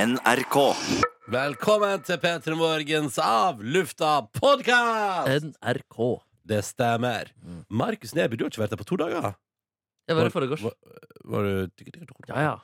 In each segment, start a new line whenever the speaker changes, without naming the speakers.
NRK.
Velkommen til P3 Morgens Av lufta
Eh.
podkast!
NRK.
Det stemmer. Markus Neby, du har ikke vært der på to dager?
Jeg var her foregårs.
Var, var du
Ja, ja.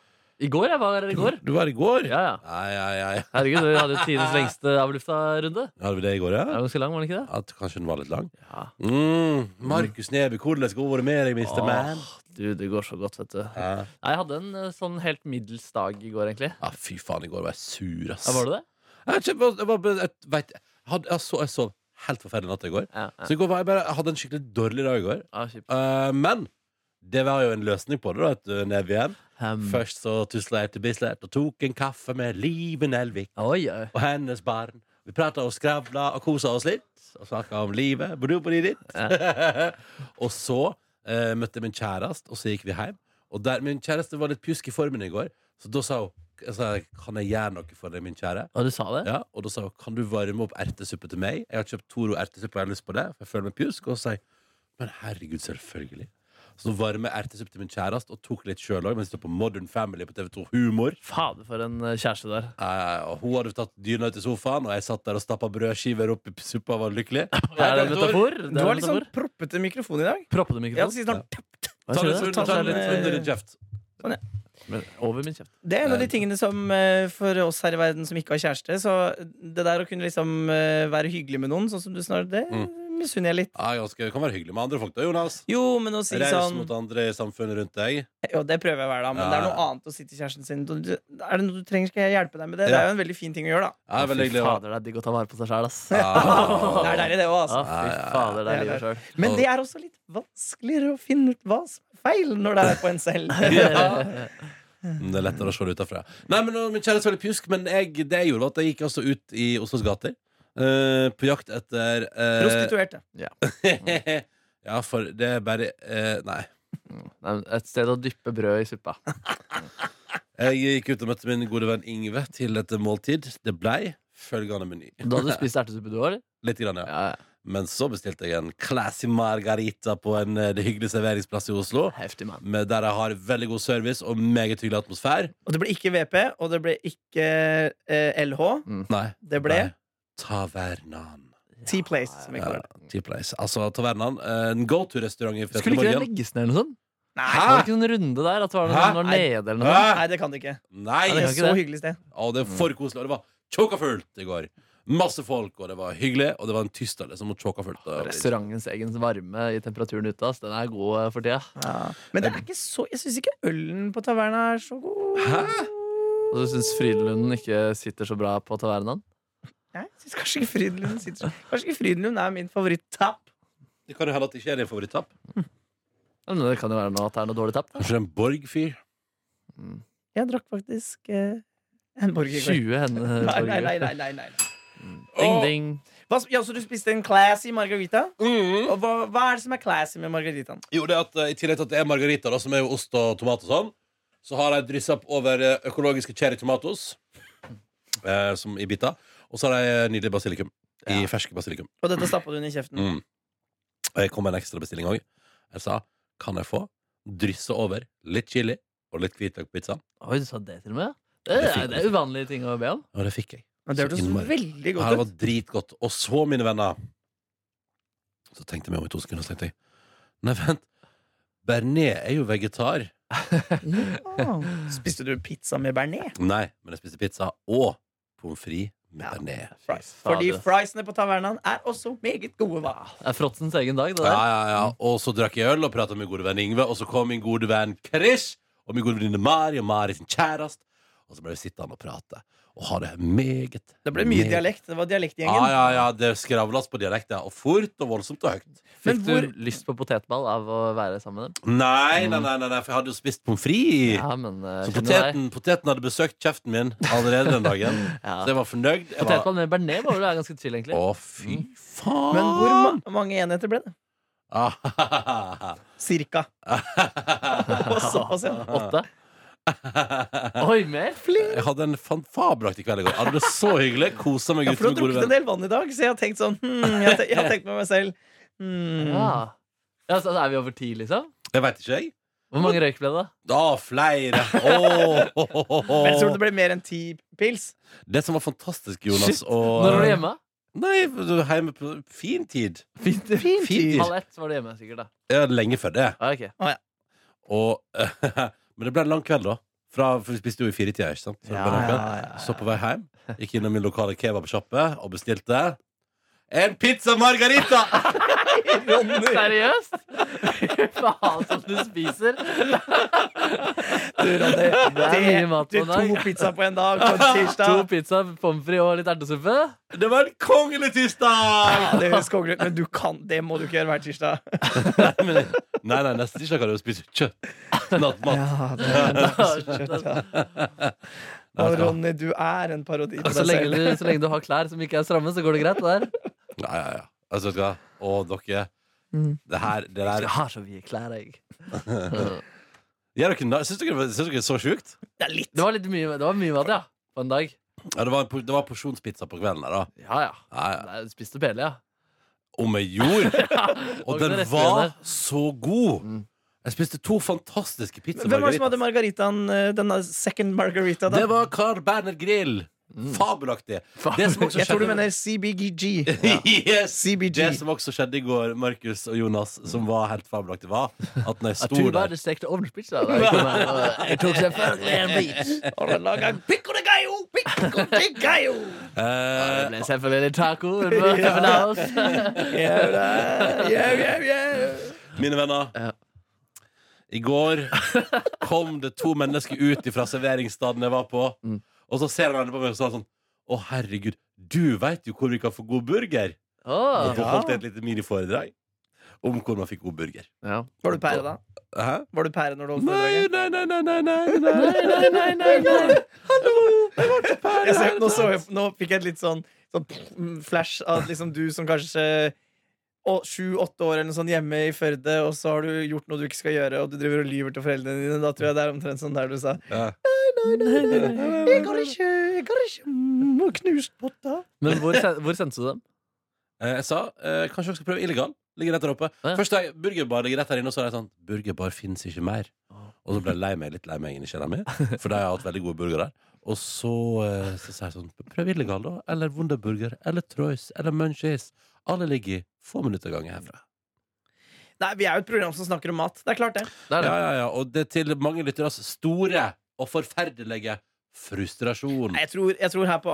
I går, jeg var her i går.
Du var i går?
Ja, ja.
Nei, ja, ja, ja.
Herregud, vi hadde jo tidens lengste avlufta-runde.
Hadde vi det i går,
Det
ja?
var ganske lang, var den ikke det?
At kanskje den var litt lang?
Ja.
Mm, Markus Neby, hvordan går det med deg, Mr. Man?
Åh, du, det går så godt, vet du. Nei,
Ja.
jeg hadde en eh, sånn helt middels dag i går, egentlig.
ja, fy faen, i går var jeg sur, ass.
Ja, var det det?
Jeg, jeg, var- jeg, var- jeg, vet, jeg, hadde, jeg, så, jeg sov helt forferdelig natt i går.
Ja, ja.
Så i går var jeg bare, jeg hadde en skikkelig dårlig dag i går.
Ja, kjipt.
Eh, men det var jo en løsning på det, da, vet du, Neby. igjen.
Hem.
Først så tusla jeg til Bislett og tok en kaffe med Live Nelvik
Oi, oi.
og hennes barn. Vi prata og skravla og kosa oss litt og snakka om livet. Badubadi ditt. og så eh, møtte jeg min kjæreste, og så gikk vi hjem. Og der, min kjæreste var litt pjusk i formen i går, så da sa hun jeg sa, Kan jeg gjøre noe for deg, min kjære?
Hva, du sa det?
Ja, og da sa hun Kan du varme opp ertesuppe til meg? Jeg har kjøpt Toro ertesuppe, og jeg har lyst på det. For jeg føler meg pjusk. Og så sa jeg Men herregud, selvfølgelig. Så nå varmer jeg ertesuppe til min kjæreste og tok litt sjøl òg, mens det står på Modern Family på TV2 Humor.
Fader, for en eh, kjæreste der.
Eh, og hun hadde tatt dyna ut i sofaen, og jeg satt der og stappa brødskiver opp i suppa og var lykkelig.
Det er en metafor. Det
Du
er
har
en
litt sånn
metafor.
proppete mikrofon i dag.
Proppete
Ja,
mikrofon.
det, sånn,
Ta
Hva sier
litt
du?
under-
Ta
ta
seg
litt
eh,
litt-
under din kjeft.
Men Over min kjeft.
det er en av de tingene som eh, for oss her i verden som ikke har kjæreste Så det der å kunne liksom eh, være hyggelig med noen, sånn som du snart, det
Mm.
misunner jeg litt.
Ja, ganske, kan være hyggelig med andre folk, da, Jonas.
Jo, men å si
Raus
sånn
mot andre i samfunnet rundt deg.
Jo, det prøver jeg hver dag, men
liksom Ja.
det er noe annet å si til kjæresten sin. Du, du- er det noe du trenger, skal jeg hjelpe deg med det? Det
Ja.
er jo en veldig fin ting å gjøre, da.
Ja, veldig
Fy
hyggelig. å-
fader, det er digg å ta vare på seg sjæl, ass. Ja,
Ja.
Det er deilig, det òg, altså.
fy fader, det er livet sjøl.
Men det er også litt vanskeligere å finne ut hva som er feil, når det er på en selv.
Ja. Det er lettere å se det utafra. Nei, men nå, Min kjæreste var litt pjusk, men jeg, det jeg gjorde, var at jeg gikk altså ut i Oslos gater. eh, på jakt etter eh,
Prostituerte.
Ja, for det er bare eh, Nei.
Nei, men Et sted å dyppe brød i suppa.
Jeg gikk ut og møtte min gode venn Ingve til et måltid. Det blei følgende meny.
Da hadde du spist ertesuppe, du òg, eller?
Litt grann, ja.
Ja, ja.
Men så bestilte jeg en classy margarita på en eh, det hyggelige serveringsplass i Oslo.
Heftig, mann.
Med der jeg har veldig god service og meget hyggelig atmosfære.
Og det ble ikke VP, og det ble ikke eh, LH.
Nei.
Det ble
nei. Tavernaen.
T-Place, som vi
Ja,
kaller det.
T-Place. Altså Tavernaen. eh, En go to-restaurant i
Skulle ikke det
Petermorgen.
legges ned eller noe sånt?
Nei,
Var det
Hæ?
ikke noen runde der? At det var noe
Hæ?
sånn, det var
Nei.
nede eller noe?
Hæ?
Nei, det kan det ikke.
Nei!
Det
kan
er
ikke
så
det.
hyggelig sted.
Å, det var for koselig. Og det var tjåkafullt i går. Masse folk, og det var hyggelig. Og det var en tysker som var tjåkafullt. og-
Restaurantens egen varme i temperaturen ute, ass. Den er god eh, for tida.
Men det er ikke så jeg syns ikke ølen på taverna er så god.
Hæ?
Og du syns Frydenlund ikke sitter så bra på tavernaen?
Nei, Jeg synes kanskje ikke Frydenlund sitter så- Kanskje ikke Frydenlund er min favoritt-tap.
Det kan jo hende at det ikke er din favorittapp.
Ja, men det kan jo være noe, at det er noe dårlig tapt. da.
Kanskje en Borg-fyr.
Jeg drakk faktisk eh, en borger i går.
20 henne
Nei, nei, nei,
borgere.
nei, nei, nei.
Ding, ding.
Hva, ja, så du spiste en classy margarita?
Mm.
Og hva, hva er det som er classy med margaritaen?
Jo, det er at eh, I tillegg til at det er margarita, da, som er jo ost og tomat og sånn, så har jeg dryssa opp over eh, økologiske cherry tomatoes eh, som i biter. Og så har jeg eh, nydelig basilikum. I ferske basilikum.
Og dette stappa du inn i kjeften.
Mm. Og jeg kom med en ekstra bestilling òg. Jeg sa kan jeg få drysse over litt chili og litt hvitløk på pizzaen.
Oi, du sa det til og med?
Det
Det
er
er,
fint.
det er uvanlige ting å be om.
Og det fikk jeg.
Men det
Så
hørtes
innmari.
veldig
Ja, det
godt ut.
var dritgodt. Og så, mine venner Så tenkte jeg meg om i to sekunder, og så tenkte jeg Nei, vent. Bearnés er jo vegetar.
Ah. Spiste du pizza med bearnés?
Nei, men jeg spiste pizza og pommes frites med bearnés.
Fordi
Fader.
friesene på tavernaen er også meget gode. Hva?
Det er Frotsens egen dag, det
Ja,
der.
ja, ja. Og så drakk jeg øl og prata med min gode venn Ingve, og så kom min gode venn Chris og min gode venninne Mari og Mari sin kjæreste, og så ble vi sittende og prate og ha det meget
Det ble mye
meget-
dialekt. Det var dialektgjengen.
Ja, ja, ja, det skravlas på dialekt, ja. Og fort og voldsomt og høyt.
Fikk
Men
du lyst på potetball av å være sammen med dem?
Nei,
Mm.
nei, nei, nei, nei for jeg hadde jo spist pommes frites.
Ja, men eh,
Så
kjenner deg.
poteten, poteten hadde besøkt kjeften min allerede den dagen.
Ja.
Så jeg var fornøyd. Jeg var,
Potetball med bearnés må vel være ganske chill, egentlig.
å, fy faen!
Mm. Men hvor ma mange enheter ble det?
Ah,
Cirka. Og såpass, ja.
Åtte? Oi, mer? Fling!
Jeg hadde en fanfabelaktig kveld i går. Jeg hadde det så hyggelig. Kosa meg
ja,
ute
for du har
med gode
drukket en
venner.
del vann i dag, så jeg har tenkt sånn hmm, jeg, har te- jeg har tenkt med meg selv hmm.
Ja. ja, så Er vi over ti, liksom?
Jeg veit ikke, jeg.
Hvor mange røyk ble det?
Da, flere! Åh, ho, ho, ho, ho.
Men tror du det ble mer enn ti pils?
Det som var fantastisk, Jonas
Shit,
og,
Når var du hjemme?
Nei, du er hjemme på fin tid.
Fint,
Fin tid.
Halv ett var du hjemme, sikkert. da
Ja, lenge før det.
ah, ok.
Og, men det ble en lang kveld, da. Fra, for vi spiste jo i firetida, ikke sant? Så, det ble en lang kveld. så på vei hjem gikk innom min lokale kebabsjappe og bestilte en pizza margarita!
Seriøst? Faen som du spiser.
Du, Ronny,
Det er mye mat på
det-
en dag.
To pizzaer på en dag på en
To
tirsdag.
pizza, pommes frites og litt ertesuppe.
Det var en kongelig tirsdag!
Ja, det høres kongelig ut, men du kan, det må du ikke gjøre hver tirsdag.
Nei, men, nei, nei, neste tirsdag kan du jo spise kjøtt. Nattmat.
Ja, det
Nei,
Og
vet du hva?
Ronny, du er en parodi på
Så
deg
lenge,
selv.
du, så lenge du har klær som ikke er stramme, så går det greit. det der
Ja, ja, ja. Altså, vet du hva? Å, dere.
Mm.
Det her, det der
Jeg har så mye klær, jeg. Det
ja, dere, na- Syns dere syns dere det er så sjukt?
Det er litt.
var, litt mye, det var mye mat, ja. På en dag.
Ja, det var, en po- det var porsjonspizza på kvelden her, da.
Ja, ja.
Ja, ja.
Nei, du spiste pele, ja.
Om jeg gjorde!
Og
Og den
så resten
var
der.
så god!
Mm.
Jeg spiste to fantastiske pizza
Hvem var det som hadde
margaritas.
margaritaen, eh, denne second margarita, da?
Det var Carl Berner Grill.
Mm.
Fabelaktig.
Faen.
Det som også
Jeg tror du
skjedde-
mener CBGG.
yes.
CBG.
Det som også skjedde i går, Markus og Jonas, som var helt fabelaktig, var at når jeg
Jeg
sto
tror bare
der
det stekte ovnspizza. da jeg kom her, og Jeg tok selvfølgelig en bit.
Og den laga pico de gallo, pico de gallo.
Det
eh,
ble selvfølgelig taco. utenfor København.
Yeah, yeah, yeah, yeah.
Mine venner.
Ja.
I går kom det to mennesker ut fra serveringsstedet jeg var på,
Mm.
og så ser han på meg og sa sånn Å, herregud, du veit jo hvor vi kan få god burger! Og
Åh.
så holdt jeg et lite miniforedrag om hvor man fikk god burger.
Ja.
Var du pære, da?
Hæ?
Var du pære når du holdt
Nei,
foredraget?
nei, nei, nei, nei, nei, nei.
Nei, nei, nei, nei.
Jeg ser- Nå, så jeg, nå fikk jeg et litt sånn, sånn flash av at liksom du som kanskje sju-åtte år eller noe sånt hjemme i Førde, og så har du gjort noe du ikke skal gjøre, og du driver og lyver til foreldrene dine. Da tror jeg det er omtrent sånn der du sa.
Ja.
Jeg har ikke, jeg har ikke mm, knust potta.
Men hvor, sen- hvor sendte du dem?
Eh, Jeg sa eh, kanskje dere skal prøve illegal. Ligger rett der oppe.
Ja.
Først da jeg- burgerbar ligger rett her inne, og så er jeg sånn Burgerbar fins ikke mer.
Åh.
Og så ble jeg lei meg litt lei meg inni kjelleren min, for da har jeg hatt veldig gode burgere. Og så, eh, så sa jeg sånn Prøv illegal, da. Eller Wunderburger. Eller Troys. Eller Munchies. Alle ligger i få minutter gangen herfra.
Nei, Vi er jo et program som snakker om mat. Det er klart, det.
Ja,
Der, da.
ja, ja. Og det til mange lytteres store og forferdelige frustrasjon.
Nei, Jeg tror, jeg tror her på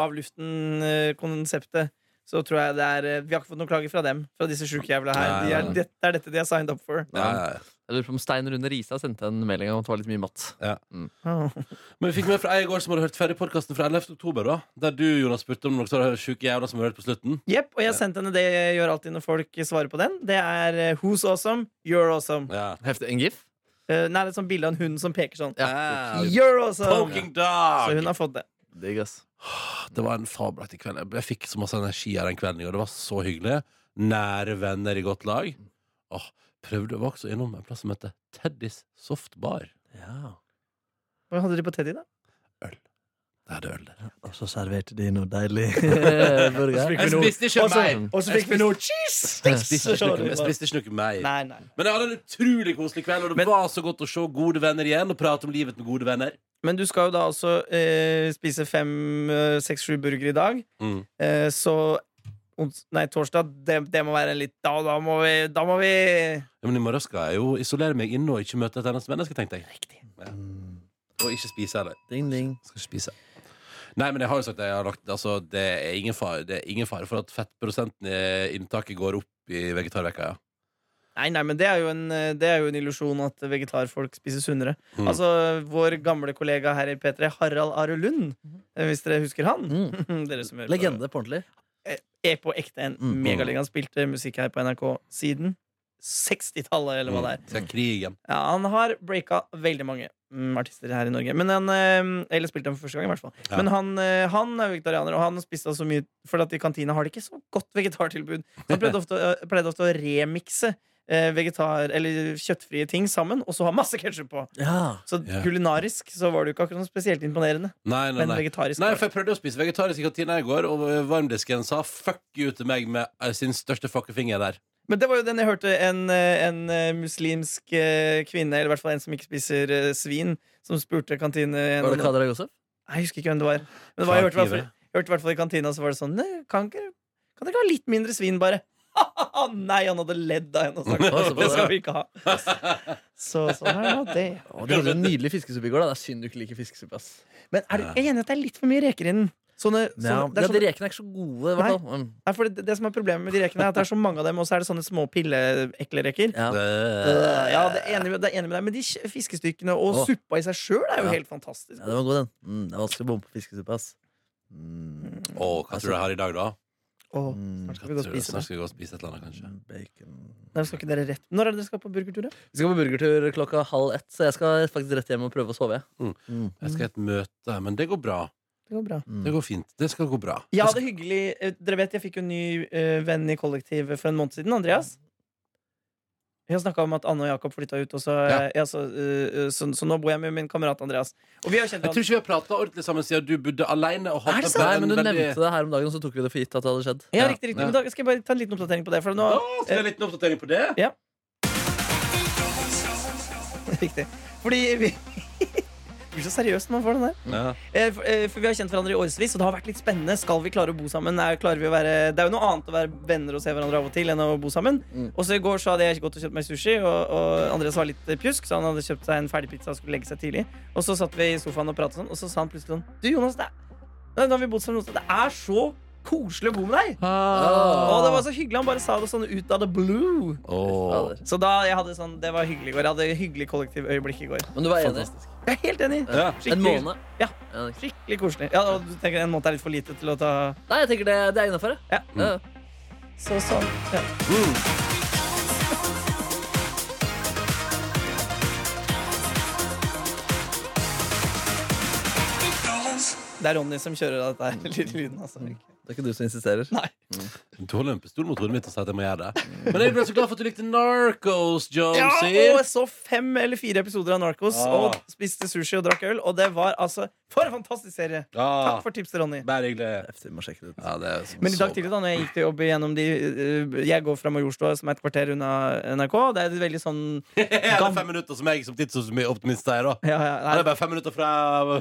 avluften-konseptet så tror jeg det er eh, Vi har ikke fått noen klager fra dem, fra disse sjuke jævla her.
Nei,
De er,
nei, nei.
det, det er dette de har signed up for.
Ja, ja, ja.
Jeg lurer på om Stein Rune Risa sendte en melding om at det var litt mye mat.
Men vi fikk med fra ei i går som hadde hørt ferdig podkasten fra 11. oktober, da. Der du, Jonas, spurte om noen sjuke jævler som hadde hørt på slutten.
Jepp, og jeg sendte henne det jeg gjør alltid når folk svarer på den. Det er eh, Who's awesome? You're awesome.
Ja.
Heftig. En gif?
Eh, nei, det er et sånt bilde av en hund som peker sånn.
Ja.
You're awesome!
Poking
Så
dog!
hun har fått det.
Digg, ass.
Det var en fabelaktig kveld. Jeg- Jeg fikk så masse energi av den kvelden. i går. Det var så hyggelig. Nære venner i godt lag. Åh, prøvde å vokse innom en plass som heter Teddys Softbar.
Ja.
Hva hadde de på Teddy, da?
Der er det øl der.
Og så serverte de noe deilig burger.
Jeg spiste
ikke
mer.
Og så fikk vi noe cheese
Jeg spiste ikke noe, jeg
Nei,
spiste ikke noe mer.
nei.
Men jeg hadde en utrolig koselig kveld, og det
Men-
var så godt å se gode venner igjen og prate om livet med gode venner.
Men du skal jo da også eh, spise fem, eh, seks, sju burgere i dag.
Mm.
Eh, så ons nei, torsdag, det, det må være en litt Da, da må vi, da må vi
Ja, men i morgen skal jeg jo isolere meg inne og ikke møte et eneste menneske, tenkte jeg. Ja. Og ikke spise heller.
Ding, ding.
Skal ikke spise. Nei, men jeg har jo sagt at jeg har lagt altså, det, er ingen fare, det er ingen fare for at fettprosenten i inntaket går opp i vegetarveka. Ja.
Nei, nei, men det er jo en, eh, det er jo en illusjon at vegetarfolk spiser sunnere.
Mm.
Altså, vår gamle kollega her i P3, Harald Are Lund, eh, hvis dere husker han.
Mm.
dere som hører
Mhm.
på-
Legende på ordentlig.
Er på ekte en
Mm.
megalegende. Han spilte musikk her på NRK siden 60-tallet, eller hva det er.
Siden krigen.
Ja, han har breaka veldig mange mm, artister her i Norge. Men han, eh, eller spilte dem for første gang, i hvert fall.
Ja.
Men han, eh, han er vegetarianer, og han spiste så mye For at i kantina har de ikke så godt vegetartilbud. Så han pleide ofte, eh, pleide ofte å remikse eh, vegetar- eller kjøttfrie ting sammen, og så ha masse ketsjup på.
Ja.
Så
Ja.
kulinarisk så var det jo ikke akkurat noe spesielt imponerende.
Nei, nei,
Men
nei.
vegetarisk
Nei,
var det.
for Jeg prøvde å spise vegetarisk i kantina i går, og varmdisken sa fuck you til meg med eh, sin største fuckefinger der.
Men det var jo den jeg hørte en, eh, en eh, muslimsk eh, kvinne, eller i hvert fall en som ikke spiser eh, svin, som spurte kantine
Var det Kader Josef?
Nei, jeg husker ikke hvem det var. Men det var, jeg hørte i hvert fall-
Kantine.
jeg hørte i hvert fall i kantina, så var det sånn Nei, kan ikke, kan dere ikke ha litt mindre svin, bare? Nei, han hadde ledd av henne og
Så
sagt
bra.
det skal vi ikke ha. Så sånn er nå det.
Å, du lagde en nydelig fiskesuppe i går. da Det er synd du ikke liker fiskesuppe. ass
Men er du, jeg er enig i at det er litt for mye reker i den. Sånne, sånne,
Ja,
det, er
de
sånne,
rekene er sånn- ikke så gode. I hvert fall. Mm.
nei, for det, det som er problemet med de rekene, er at det er så mange av dem, og så er det sånne små pilleekle reker.
Ja.
Øh.
Øh, Ja, det er enig med, det er enig med deg, men de kj- fiskestykkene og
Åh.
suppa i seg sjøl er jo
Ja.
helt fantastisk.
Ja, den var god, den. Mm, det er vanskelig å bomme på fiskesuppe. ass mm,
Å, hva tror du jeg har i dag, da?
Åh,
mm,
snart skal vi
Hva
gå
tror
og
du?
spise Mm.
Snart
det.
skal vi gå og spise et eller annet, kanskje.
Bacon
Nei, skal ikke dere rett Når er det dere skal på burgertur? da?
Vi skal på burgertur klokka halv ett, så jeg skal faktisk rett hjem og prøve å sove. jeg.
Mm.
Mm.
Jeg skal i et møte, men det går bra.
Det går bra.
Det går fint. Det skal gå bra.
Jeg hadde hyggelig eh, Dere vet jeg fikk jo en ny eh, venn i kollektivet for en måned siden. Andreas. Vi har snakka om at Anne og Jakob flytta ut, og så, eh, ja. så, eh, så, så nå bor jeg med min kamerat Andreas. Og vi har jo kjent
Jeg tror
hverandre
ikke vi har prata ordentlig sammen siden du bodde aleine. Og
Er
hadde
det sant?
bare
Nei,
en
men du
veldig-
nevnte det her om dagen, så tok vi det for gitt at det hadde skjedd.
ja, riktig, riktig.
Ja.
Men da skal jeg bare ta en liten oppdatering på det. For nå,
Å, skal vi ha en liten oppdatering på det?
riktig. Fordi vi Det blir så seriøst når man får den der.
Ja.
Eh, For, eh, for vi har kjent hverandre i årevis, og det har vært litt spennende. Skal vi klare å bo sammen? Er, klarer vi å være, det er jo noe annet å være venner og se hverandre av og til enn å bo sammen.
Mm.
Og så i går så hadde jeg gått og kjøpt meg sushi, og, og Andreas var litt eh, pjusk, så han hadde kjøpt seg en ferdig pizza og skulle legge seg tidlig. Og så satt vi i sofaen og pratet sånn, og så sa han plutselig sånn Du, Jonas, det er, Nei, nå har vi bodd sammen, noe sted. det er så koselig å bo med deg!
Ah.
Og det var så hyggelig. Han bare sa det sånn ut av the blue.
Å.
Fader.
Så da jeg hadde sånn, det var hyggelig i går. Jeg hadde et hyggelig kollektivøyeblikk i går.
Men du var enig?
Fantastisk.
Jeg er helt enig.
Ja.
En måned?
Ja.
det er ikke-
Skikkelig koselig. Ja, og du tenker En måned er litt for lite til å ta
Nei, jeg tenker det, det er innafor.
Ja.
Ja.
Så sånn. Ja. Det er Ronny som kjører av dette her. Lille lyden, altså.
Det er ikke du som insisterer.
Nei.
Du holder en pistol mot hodet mitt og sier at jeg må gjøre det. Men jeg ble så glad for at du likte Narcos,
Ja,
Jonesy.
og jeg så fem eller fire episoder av Narcos
Ah.
og spiste sushi og drakk øl, og det var altså For en fantastisk serie! Takk for tipset, Ronny.
Bare hyggelig.
Heftig, må sjekke det ut.
Ja, det er så-
Men i dag
Ah. så
tidlig, da når jeg gikk til jobb gjennom de øh, Jeg går fra Majorstua, som er et kvarter unna NRK. Det er et veldig sånn
bra. Ja, det er fem minutter som jeg som tidsoptimist sier, da.
ja, ja,
Ja,
nei,
det er bare fem minutter fra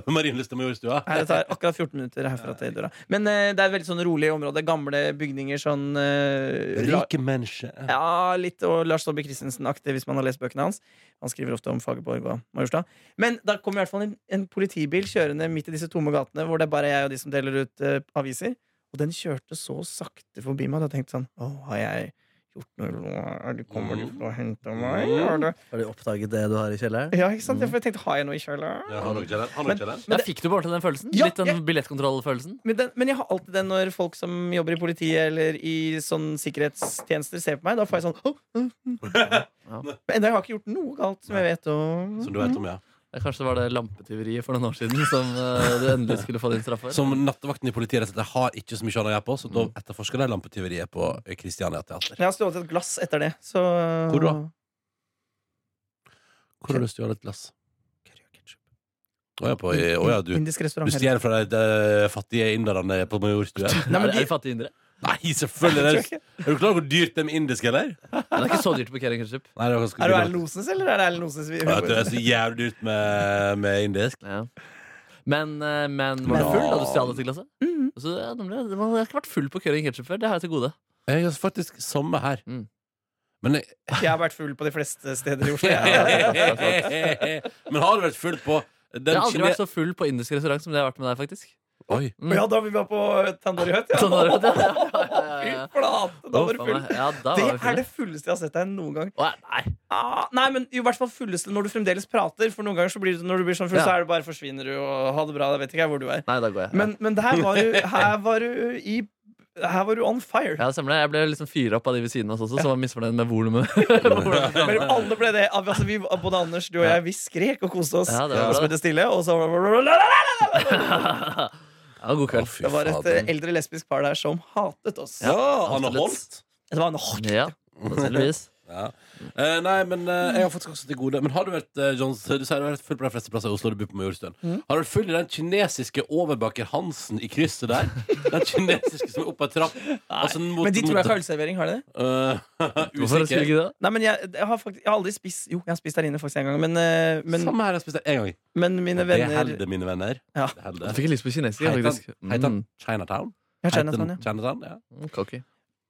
Marienlyst til Majorstua.
Nei, det tar akkurat 14 minutter herfra til døra. Men eh, det er et veldig sånn rolig område. Gamle bygninger sånn eh, la-
mennesker.
Ja, litt og Lars Saabye Christensen-aktig, hvis man har lest bøkene hans. Han skriver ofte om Fagerborg og Majorstad. Men da kom i hvert fall en, en politibil kjørende midt i disse tomme gatene, hvor det er bare jeg og de som deler ut eh, aviser. Og den kjørte så sakte forbi meg at jeg tenkte sånn Å, har jeg gjort noe? Er det- Kommer de for å hente meg? Er det?
Har de oppdaget det du har i kjelleren?
Ja, ikke sant? For jeg tenkte, har jeg noe i kjelleren?
Ja, har dere ikke den? Har dere ikke den?
Ja, fikk du bare til den følelsen?
Ja,
Litt den
jeg-
billettkontrollfølelsen?
Men, den, men jeg har alltid den når folk som jobber i politiet eller i sånn sikkerhetstjenester ser på meg. Da får jeg sånn «Åh, åh,
Ja.
åh». Men Enda jeg har ikke gjort noe galt, som jeg vet. Og...
Som du vet om, ja.
Ja, Kanskje det var det lampetyveriet for noen år siden som eh, du endelig skulle få din straff for?
Som nattevakten i politiet rett og slett har ikke så mye annet å gjøre på, så da etterforsker de lampetyveriet på Kristiania Teater.
Jeg har stjålet et glass etter det. Så...
Hvor da? Hvor har du stjålet et glass? Å ja, på, å ja, du,
Indisk
du
restaurant. her.
stjeler fra de, de eh, fattige inderne på Majorstua?
Nei, men
er,
de-
er det fattige indre?
Nei, selvfølgelig!
Tror
det
jeg
Er,
ikke.
er du klar over hvor dyrt de indiske er der?
Men det er ikke så dyrt på Kering Ketchup.
Nei, det var ganske
Er du
dyrt.
Erlend Osnes, eller er det Erlend Osnes? vi-
Ja, vet du, det er så jævlig dyrt med, med indisk.
Ja. Men, eh, men var du full da du stjal dette glasset?
Mm.
Så, ja, nemlig, det var- jeg har ikke vært full på Kering Ketchup før. Det har jeg til gode.
Jeg har faktisk samme her.
Mm.
Men, jeg,
Jeg har vært full på de fleste steder i Oslo. jeg.
men har du vært full på den
Jeg har aldri
kine-
vært så full på indisk restaurant som det jeg har vært med deg, faktisk.
Oi.
Å Ja, da vi var på Tandori Hut, ja.
Sånn har det vært, ja.
Fy
Ja, ja, ja.
flate, da var du
Faen
full.
meg. Ja, da
Det
var vi
er
fulle.
det fulleste jeg har sett deg noen gang.
Å, nei.
Ah, nei, men i hvert fall fulleste når du fremdeles prater. For noen ganger så blir du, når du blir sånn full,
Ja.
så er det bare forsvinner du og ha det bra. Jeg vet ikke jeg hvor du er.
nei, da går jeg.
Men, men det her var du, her var du i Her var du on fire.
Ja, det stemmer det. Jeg ble liksom fyra opp av de ved siden av oss også, som var misfornøyd med volumet.
Men alle ble det. Altså, vi, både Anders, du og jeg, vi skrek og koste oss.
Ja, det var
Og så
bra.
ble det stille, og så Det
Ja, god
Å,
kveld.
fy
var et eh,
fader.
eldre lesbisk par der som hatet oss.
Ja, Anne
absolutt.
Holt.
Det var en
Ja, sannsynligvis.
Ja. Eh, nei, men eh, jeg har faktisk også til gode Men har du vært eh, Johns, du sier du har vært full på de fleste plasser i Oslo du bor på Majorstuen.
Mm.
Har du vært full i den kinesiske overbaker Hansen i krysset der? Den kinesiske som er oppe ei trapp? Altså, mot,
Men de tror jeg
mot-
har ølservering, har de det?
Eh,
Hvorfor skulle
Usikker.
ikke det?
Nei, men jeg, jeg, har faktisk, jeg har aldri spist Jo, jeg har spist der inne faktisk en gang, men, eh, men,
Samme her, jeg har spist det én gang.
men mine
Det er
venner
heldet, mine venner.
Ja.
Det er heldet.
Jeg fikk lyst på kinesisk.
Heter
faktisk.
den- heter den Chinatown?
Ja,
Heter den
Chinatown, ja.
Chinatown, ja.
Mm, cocky.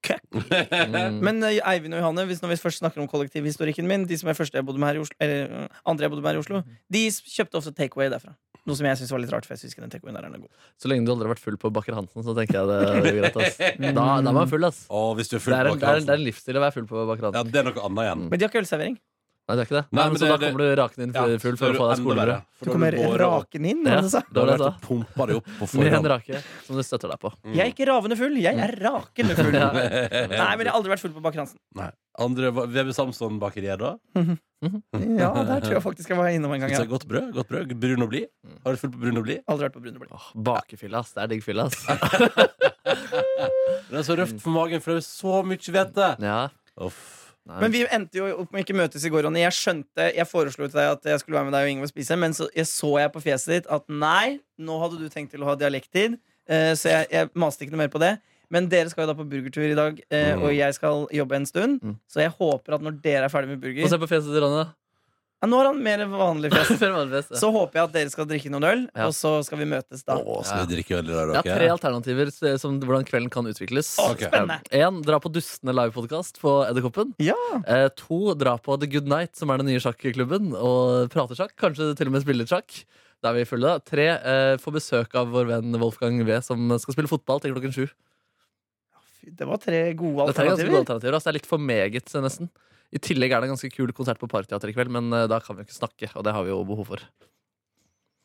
Køkk.
Mm.
Men eh, Eivind og Johanne, hvis når vi først snakker om kollektivhistorikken min De som er første jeg bodde med her i Oslo Eller eh, andre jeg bodde med her i Oslo De s- kjøpte ofte takeaway derfra Noe som jeg synes var litt rart, for jeg synes ikke den takeawayen der er noe god
Så lenge du aldri har vært full på Bakker Hansen, så tenker jeg det, det er greit. Ass. Da, da var jeg full, ass.
Mm. Å, hvis du er
Det
full
er, en,
på
det, er en, Mm. det er en livsstil å være full på Bakker
Ja,
Hansen.
det er noe annet igjen.
Men de har ikke ølservering
Nei, det er ikke det.
Nei,
Nei,
men
men så
det-
da kommer du rakende inn
Ja,
full-
så
full
er
for å
det
få deg
enda
skolebrød.
verre. For
Du
da
kommer
du båret opp.
raken inn, altså.
Ja,
var det du sa?
det var
Da
det jeg sa.
har du pumpa deg opp på
Med en
forhånd.
rake som du støtter deg på.
Jeg er ikke ravende full, jeg er rakende full
Ja.
Nei, men jeg har aldri vært full på Bakkeransen
Nei. Andre Vebe Samson-bakeriet, da?
Ja, der tror jeg faktisk jeg var innom en gang
Synes
ja.
jeg Godt brød, godt brød. Brun og blid.
Mm.
Har du fulgt på brun og blid?
Aldri vært på Brunebli
Åh, Bakefylla, ass. Det er digg fylla, ass.
Det er så røft for magen, for det er så mye hvete.
Ja.
Uff.
Nei.
Men vi endte jo opp med ikke møtes i går, Ronny. Jeg skjønte, jeg foreslo til deg at jeg skulle være med deg og Ingve og spise, men så jeg så jeg på fjeset ditt at nei, nå hadde du tenkt til å ha dialekttid, eh, så jeg, jeg maste ikke noe mer på det. Men dere skal jo da på burgertur i dag, eh,
Mm.
og jeg skal jobbe en stund.
Mm.
Så jeg håper at når dere er ferdig med
Få
burger
se på fjeset til Ronny, da.
ja, Nå har han mer vanlig fjes.
Før vanligvis, ja.
Så håper jeg at dere skal drikke noen øl,
Ja.
og så skal vi møtes da.
Å, skal vi drikke øl i dag,
Det
dere?
er tre alternativer s- som, hvordan kvelden kan utvikles.
Å,
Ok.
spennende.
Eh, En, dra på Dustene livepodkast på Edderkoppen.
Ja.
Eh, to, dra på The Good Night, som er den nye sjakklubben, og prate sjakk. Kanskje til og med spille litt sjakk. Da er vi fulle. da. Tre, eh, få besøk av vår venn Wolfgang V, som skal spille fotball til klokken sju.
Fy, Det var tre
Det er
gode
ganske gode
alternativer.
alternativer. Altså, det er litt for meget, eh, nesten. I tillegg er det en ganske kul konsert på Parkteatret i kveld, men eh, da kan vi jo ikke snakke, og det har vi jo behov for.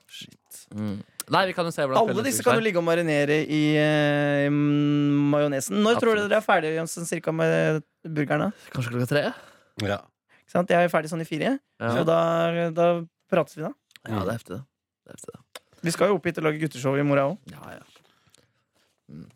Shit. Mm. Nei, vi kan jo se hvordan
Alle disse kan jo ligge og marinere i, eh, i mm, majonesen. Når tror dere
Absolutt.
dere er ferdige Jonsson, cirka med burgerne?
Kanskje klokka tre?
Ja.
Ikke sant? Jeg er ferdig sånn i fire,
Ja,
så da, da prates vi, da.
ja det er heftig, det. det, er heftig, det.
Vi skal jo opp hit og lage gutteshow i morgen òg.
Ja, ja. Mm.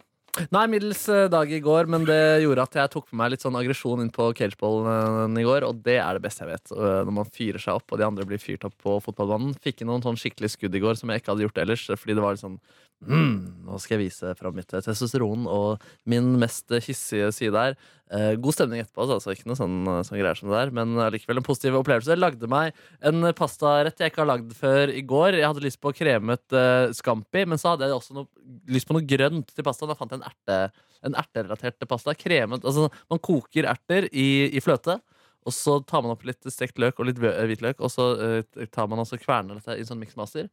Nei, middels eh, dag i går, men det gjorde at jeg tok med meg litt sånn aggresjon inn på cageballen eh, i går, og det er det beste jeg vet. eh, Når man fyrer seg opp, og de andre blir fyrt opp på fotballbanen. Fikk inn noen sånn skikkelig skudd i går som jeg ikke hadde gjort ellers, eh, fordi det var litt sånn mm, Nå skal jeg vise fram mitt eh, testosteron og min mest eh, hissige side her. Eh, god stemning etterpå, altså, altså. Ikke noe sånn, eh, sånn greier som det der, men allikevel en positiv opplevelse. Jeg lagde meg en pastarett jeg ikke har lagd før i går. Jeg hadde lyst på kremet eh, scampi, men så hadde jeg også noe, lyst på noe grønt til pastaen. Da fant jeg en, erte, en erterelatert pasta. Kremet, altså Man koker erter i, i fløte, og så tar man opp litt stekt løk og litt hvø- hvitløk, og så eh, tar man også kverner dette i en sånn miksmaster.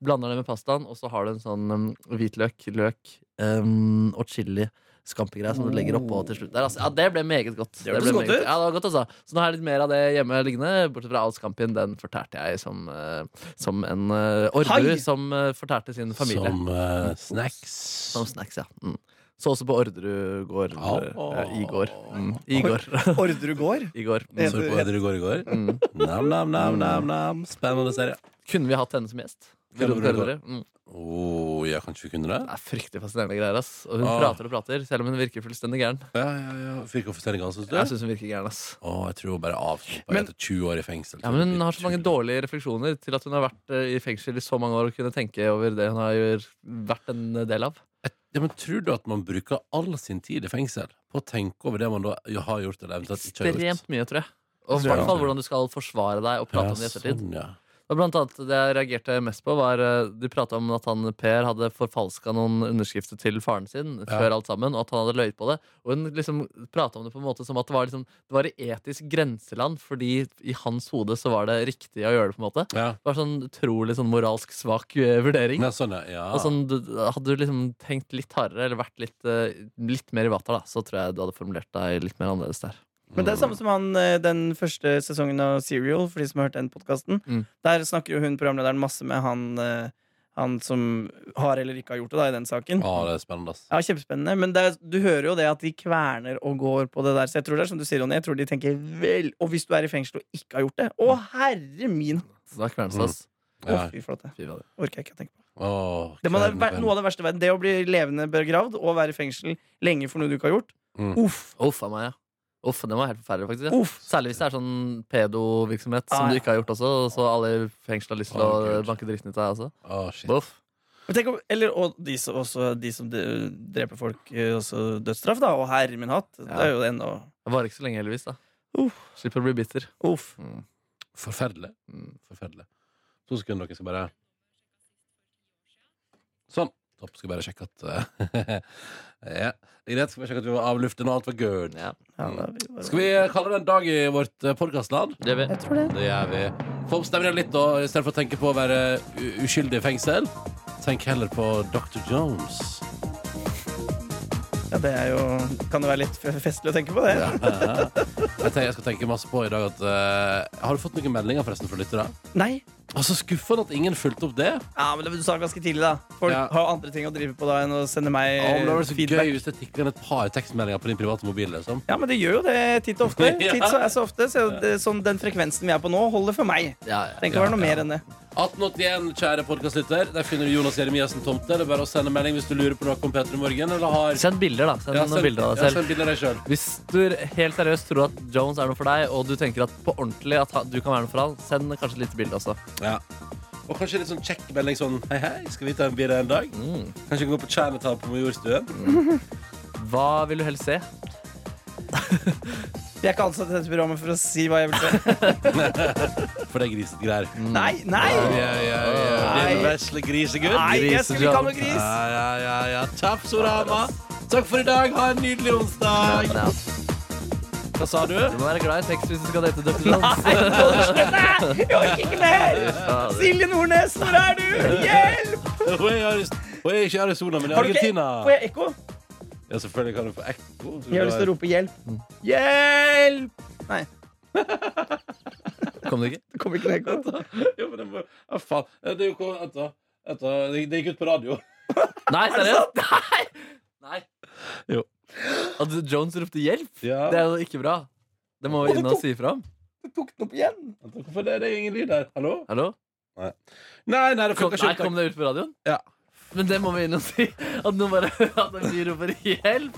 Blander det med pastaen, og så har du en sånn um, hvitløk, løk um, og chili. Skampegreier som du legger oppå til slutt der. Altså, ja, det ble meget godt.
Det hørtes
ble
godt
meget-
ut.
Ja, det var godt altså. Så nå har jeg litt mer av det hjemme liggende. Bortsett fra Alskampien, den fortærte jeg som, eh, som en uh,
Hai!
orderud som eh, fortærte sin familie. Som,
Som eh, snacks.
snacks, ja. Mm. Så også på Orderud gård
Au.
eh, i går. Mm. I går.
Orderud gård.
I går.
Så
Mm.
du på hva dere går i går?
Mm.
Nam, nam, nam, nam, nam. Spennende serie.
Kunne vi hatt henne som gjest?
Ja,
Veronica
Veronica.
Orderud. Mm.
Oh, ja, kanskje vi kunne det?
Det er fryktelig fascinerende greier. ass Og hun
Ah.
prater og prater, selv om hun virker fullstendig gæren.
Ja, ja, ja. Fikk offisiell ganske
Jeg
stund.
synes hun virker gæren ass
Å, jeg tror hun bare avslappa
Men-
etter 20 år i fengsel.
ja, men Hun har så mange dårlige refleksjoner til at hun har vært eh, i fengsel i så mange år og kunne tenke over det hun har gjort- vært en del av.
ja, men Tror du at man bruker all sin tid i fengsel på å tenke over det man da har gjort? Eller eventuelt ikke har gjort?
Ekstremt mye, tror jeg. Og
Tror
i
jeg
hvert fall
også.
hvordan du skal forsvare deg og prate
Ja,
om det i ettertid.
sånn, ja.
Og blant annet Det jeg reagerte mest på, var eh, de prata om at han Per hadde forfalska noen underskrifter til faren sin før alt sammen, og at han hadde løyet på det. Og hun liksom prata om det på en måte som at det var, liksom, det var i etisk grenseland, fordi i hans hode så var det riktig å gjøre det, på en måte.
Ja.
Det var sånn utrolig sånn moralsk svak eh, vurdering.
ja, sånn, ja. ja.
Og sånn, du, hadde du liksom tenkt litt hardere, eller vært litt, eh, litt mer i vater, da, så tror jeg du hadde formulert deg litt mer annerledes der.
Men det er samme som han eh, den første sesongen av Serial, for de som har hørt den podkasten.
Mm.
Der snakker jo hun programlederen masse med han, eh, han som har eller ikke har gjort det, da, i den
Ah,
saken.
Å, det er spennende, ass.
Ja, Kjempespennende. Men det er, du hører jo det at de kverner og går på det der. Så jeg tror det er som du sier, Ronny. Jeg tror de tenker vel Og hvis du er i fengsel og ikke har gjort det Å, herre min!
Så da kvernes det, ass.
Å,
Ja.
fy flate.
Fy fader.
Orker jeg ikke å tenke på.
Å,
Det må være
kvelden,
noe av det verste i verden. Det å bli levende begravd og være i fengsel lenge for noe du ikke har gjort.
Mm.
Uff.
Uff a meg, ja. Uff, den var helt forferdelig, faktisk.
Uff.
Særlig hvis det er sånn pedovirksomhet
Ah,
som du
ja.
ikke har gjort også, så alle i fengsel har lyst til
Å,
å
Gud.
banke dritten ut av deg også.
Å, shit.
Uff.
Men tenk om, eller og de som, også de som de- dreper folk, eh, også dødsstraff, da. Og herre min hatt. Det er jo ennå
Det varer ikke så lenge, heldigvis. da
Uff.
Slipper å bli bitter.
Uff.
Mm.
Forferdelig.
Mm.
Forferdelig. To sekunder, dere skal bare Sånn. Topp. Skal bare sjekke at eh, Ja. Greit, skal bare sjekke at vi var av luften, og alt var good.
Ja,
Ja, da er vi bare-
Skal vi kalle det en dag i vårt eh, podcastland?
det gjør vi.
Jeg tror det.
Det gjør vi. Få opp stemningen litt, da. Istedenfor å tenke på å være u- uskyldig i fengsel. Tenk heller på Dr. Jones.
Ja, det er jo Kan det være litt f- festlig å tenke på det?
Ja. Jeg, tenker, jeg skal tenke masse på i dag at eh, Har du fått noen meldinger forresten fra lyttere?
Nei.
Altså, skuffende at ingen fulgte opp det.
Ja, men det Du sa det ganske tidlig, da. Folk
Ja.
har andre ting å drive på da enn å sende meg
Om det var så
Eh, feedback.
gøy hvis det tikket inn et par tekstmeldinger på din private mobil. Liksom.
Ja, men det gjør jo det titt og ofte.
Ja.
Titt så er så ofte så det, sånn, Den frekvensen vi er på nå, holder for meg.
Ja, ja.
Tenk å være noe mer enn det.
1881, kjære podkastlytter. Der finner du Jonas Jeremiassen Tomte. Det er bare å sende melding hvis du lurer på noe om Peter i morgen. Eller har
Send bilder, da. Send
Ja,
noen bilder av
ja,
deg selv.
send bilder av deg selv.
Hvis du helt seriøst tror at Jones er noe for deg, og du tenker at på ordentlig at ha- du kan være noe for han, send kanskje et lite bilde også.
Ja. Og kanskje litt sånn kjekk melding sånn Hei, hei, skal vi ta en bil en dag?
Mm.
Kanskje gå på Chinatown på Majorstuen?
Hva vil du helst se?
Jeg er ikke ansatt i dette programmet for å si hva jeg vil si.
For det er grisete greier.
Nei! Nei!
Ja, ja, ja. Din vesle grisegutt.
Nei, jeg skulle ikke ha noe gris!
Ja, ja, ja, ja. Tapp, Sorama. Takk for i dag. Ha en nydelig onsdag.
Ja.
Hva sa du?
Du må være glad i sex hvis du skal date Dr. Jones.
Jeg orker ikke mer! Silje Nordnes, hvor er du? Hjelp!
Hvor er Aris- hvor er ikke Arizona, men i
Har du ikke-
Argentina.
Får jeg ekko?
Ja, selvfølgelig kan du få ekko. så
Jeg
du
har lyst
har-
til å rope hjelp.
Mm.
Hjelp! Nei,
Kom det ikke?
det kommer ikke noe ekko.
Jo, men det må... Ja, faen. Det er jo ikke... Vent da. Vent da. Det det gikk ut på radio.
Nei, seriøst? Nei! Nei.
Jo.
At Jones ropte hjelp?
Ja.
Det er jo ikke bra. Det må vi inn og si fra om.
Du tok den opp igjen.
Vent da, Hvorfor det? Det er ingen lyd her. Hallo?
Hallo?
Nei, nei, det
Kom,
funker
nei,
ikke.
kom det ut på radioen?
Ja.
Men det må vi inn og si. At noen bare at en fyr roper hjelp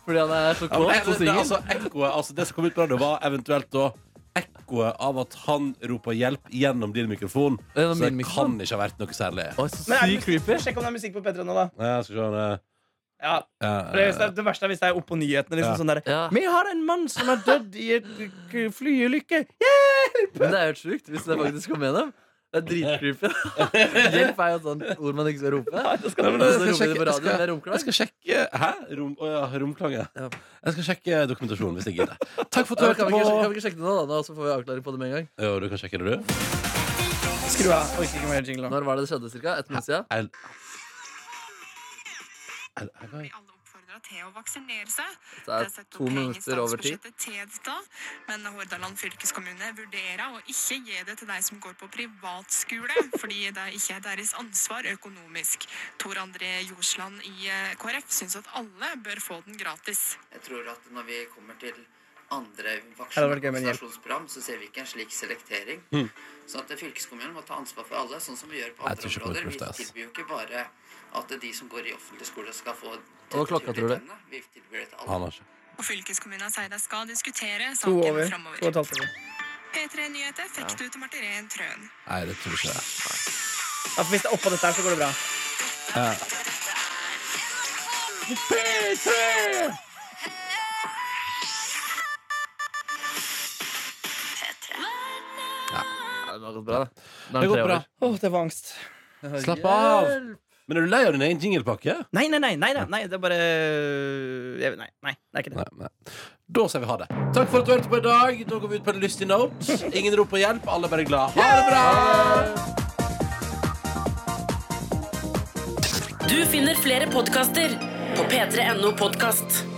fordi han er så
Ja, men
kåt og
det- det-
singel.
altså, ekkoet, altså, det som kom ut på radio, var eventuelt da ekkoet av at han roper hjelp gjennom din mikrofon.
Gjennom
så det
min mikrofon?
kan ikke ha vært noe særlig.
Oi, så
Men er det
sykt creepy.
Sjekk om det er musikk på P3 nå, da.
Nei, jeg skal se om det-
Ja,
Ja,
for det, er- det verste er hvis det er oppå nyhetene. Liksom,
Ja.
sånn der,
Ja.
Vi har en mann som er dødd i et k- flyulykke.
Men det er jo helt sjukt hvis det faktisk kom gjennom. Det er dritcreepy. Hjelp er jo et sånt ord man ikke skal rope.
Da skal
men
du-
Og
jeg skal
så roper de
sjekke-
på radioen
jeg
med
Jeg
romklang.
skal sjekke Hæ? Rom, å ja, romklang, ja.
Ja.
Jeg skal sjekke dokumentasjonen hvis jeg gidder. Takk for at du
Kan vi,
hørte
ikke, kan
på.
vi ikke sjekke det nå, da? Nå, Så får vi avklaring på det med en gang.
Jo, du kan sjekke det, du.
Skru av. Orker ikke mer jingle nå.
Når var det det skjedde? Cirka? Et minutt siden?
Jeg- Jeg- jeg-
blir alle oppfordra til å vaksinere seg.
Det er
satt
to
opp penger i
minutter over ti.
statsbudsjettet til dette, men Hordaland fylkeskommune vurderer å ikke gi det til de som går på privatskole, fordi det ikke er deres ansvar økonomisk. Tor André Jorsland i eh, KrF syns at alle bør få den gratis.
Jeg tror at når vi kommer til andre
hadde vært gøy med en hjelp.
vaksinasjonsprogram, så ser vi ikke en slik selektering. Sånn at fylkeskommunen må ta ansvar for alle, sånn som vi gjør på
Jeg
andre
tror ikke på
områder. Vi
fornuftig, ass.
tilbyr jo ikke bare at de som går i offentlig skole, skal få
Hva var klokka, tror du?
tennene. Vi tilbyr det til alle.
Han har ikke
Og fylkeskommunen sier de skal diskutere
To over.
saken
To og et
framover.
halvt over.
P3 Nyheter fikk du til Martirén Trøen.
Nei, det tror jeg ikke.
Ja, for hvis det er oppå dette her, så går det bra.
Ja, det har gått bra, da. Nå er
Det
den
går
tre
bra.
over.
Åh, det var angst.
Slapp av. Men er du lei av din egen jinglepakke?
Nei, nei, nei, nei, nei, nei det er bare jeg, nei, nei, det er ikke det.
Nei, nei. Da sier vi ha det. Takk for at du hørte på i dag. Da går vi ut på en lystig note. Ingen rop på hjelp, alle bare glad. Ha det bra!
Du finner flere podkaster på p3.no podkast.